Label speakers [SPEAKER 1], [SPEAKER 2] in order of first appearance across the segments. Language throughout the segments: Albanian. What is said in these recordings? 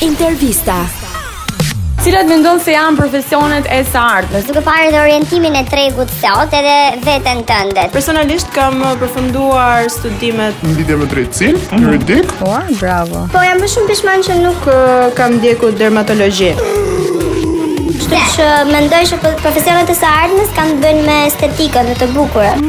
[SPEAKER 1] Intervista.
[SPEAKER 2] Cilat mendon se janë profesionet e së ardhmes?
[SPEAKER 3] duke parë dhe orientimin e tregut sot edhe veten tënde.
[SPEAKER 4] Personalisht kam uh, përfunduar studimet
[SPEAKER 5] në lidhje me drejtësin, juridik,
[SPEAKER 4] Po jam më shumë pishman që nuk uh, kam ndjeku dermatologji
[SPEAKER 3] Kështu që mendoj se po- profesionet e së ardhmes kanë të bëjnë me estetikën dhe të bukurën.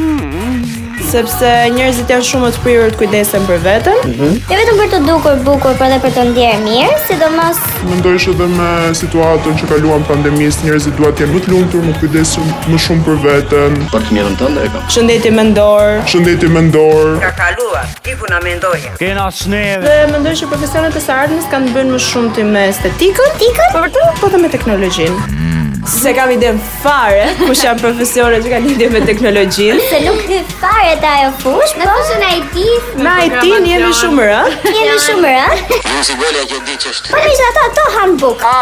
[SPEAKER 4] Sepse njerëzit janë shumë të prirur të kujdesen për vetën
[SPEAKER 3] Jo vetëm për të dukur bukur, por edhe për të ndjerë mirë, sidomos
[SPEAKER 5] mendojsh edhe me situatën që kaluan pandemisë, njerëzit duhet të jenë më të lumtur, më të kujdesshëm më shumë për veten,
[SPEAKER 6] për të mirën tënde e kam.
[SPEAKER 4] Shëndetje mendor
[SPEAKER 5] shëndetje mendor,
[SPEAKER 7] Ka kaluar, ti puna mendoja.
[SPEAKER 8] Kena sneve
[SPEAKER 4] Dhe mendoj që profesionet e së ardhmes kanë të bëjnë më shumë ti me estetikën
[SPEAKER 3] Tikën?
[SPEAKER 4] Po vërtet po të me teknologjinë Se kam iden fare kush janë profesionet që kanë lidhje me teknologjinë
[SPEAKER 3] se nuk hy fare të ajo fush, me fushën e IT
[SPEAKER 4] Na i ti Pra, jemi shumë rënd
[SPEAKER 3] jemi shumë rënd.
[SPEAKER 6] Unë si golja që di që është.
[SPEAKER 3] Po mirë, ato ato han bukë.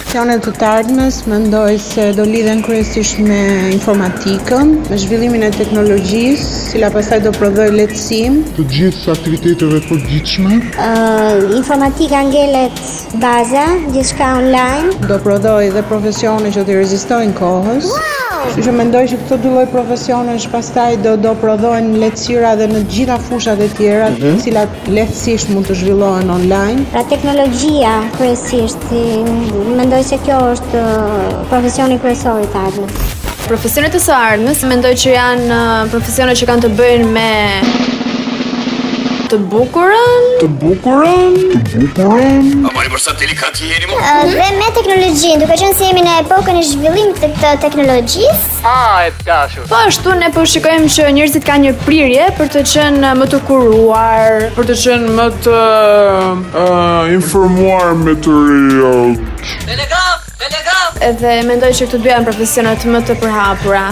[SPEAKER 9] Profesionet të të ardhmes mendoj se do lidhen kryesisht me informatikën, me zhvillimin e teknologjisë, cila pastaj do prodhoj lehtësim.
[SPEAKER 5] të gjithë aktiviteteve të përgjithshme,
[SPEAKER 3] Uh, informatika ngelet baza, gjithçka online.
[SPEAKER 9] Do prodhoj dhe profesione që të rezistojnë kohës. Kështu që mendoj që këto dy lloj profesionesh pastaj do do prodhohen lehtësira dhe në të gjitha fushat e tjera,
[SPEAKER 10] Mhm.
[SPEAKER 9] të cilat lehtësisht mund të zhvillohen online.
[SPEAKER 3] Pra teknologjia kryesisht, i- mendoj se kjo është uh, profesioni kryesor i të ardhmes.
[SPEAKER 10] Profesionet e së ardhmes mendoj që janë uh, profesione që kanë të bëjnë me të bukurën,
[SPEAKER 5] të bukurën,
[SPEAKER 6] A mori për sa delikat jeni mo?
[SPEAKER 3] Ë, Dhe me teknologjinë, duke qenë se jemi në epokën e zhvillimit të këtë teknologjisë,
[SPEAKER 10] po ashtu ne po shikojmë që njerëzit kanë një prirje për të qenë uh, më të kuruar, për të qenë më të
[SPEAKER 5] uh, informuar me të rejot.
[SPEAKER 7] Telegraf, telegraf.
[SPEAKER 10] edhe mendoj që këto dy janë profesionet më të përhapura.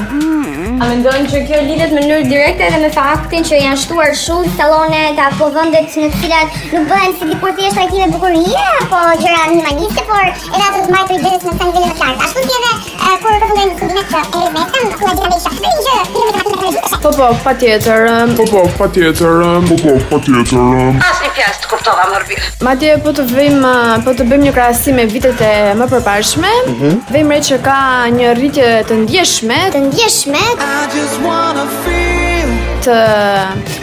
[SPEAKER 3] a mendojnë që kjo lidhet në mënyrë direkte edhe me faktin që janë shtuar shumë sallone ka apo vende në të cilat nuk bëhen si dikur thjesht trajtime bukurie apo gjëra minimaliste, por edhe ato të mbajtur deri në sa nivele të larta. Ashtu si edhe ë, kur rrotullojnë studimet të elementën, ku gjithë ndeshja. Dhe një gjë, lidhet me teknologjinë.
[SPEAKER 10] Po po, patjetër. um,
[SPEAKER 5] Po po, pa tjetër, po po, pa tjetër,
[SPEAKER 7] As një fjalë të kuptova më mirë.
[SPEAKER 10] Madje po të vëjmë uh, po të bëjmë një krahasim me vitet e më përparshme. Vëmë re që ka një rritje të ndjeshme
[SPEAKER 3] Të ndjeshme,
[SPEAKER 10] të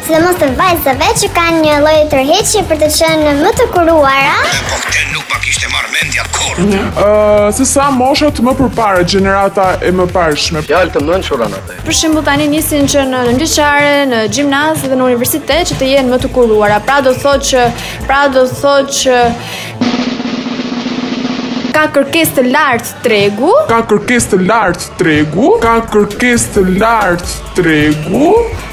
[SPEAKER 3] sidomos të vajzave që kanë një lloj tërheqje për të qenë më të kuruara,
[SPEAKER 6] Po këtë nuk pa kishte marrë mendja kur.
[SPEAKER 5] uh, se sa moshat më përpara, gjenerata e më parshme,
[SPEAKER 6] Fjalë të mençura në atë.
[SPEAKER 10] Për shembull tani nisin që në, në liçare, në gjimnaz dhe në universitet që të jenë më të kuruara. Pra do thotë që pra do thotë që ka kërkesë të lartë tregu,
[SPEAKER 5] ka kërkesë të lartë tregu, ka kërkesë të lartë tregu,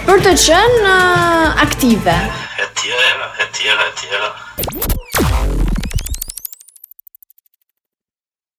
[SPEAKER 10] për të qenë uh, aktive.
[SPEAKER 6] E tjera, e tjera, e tjera.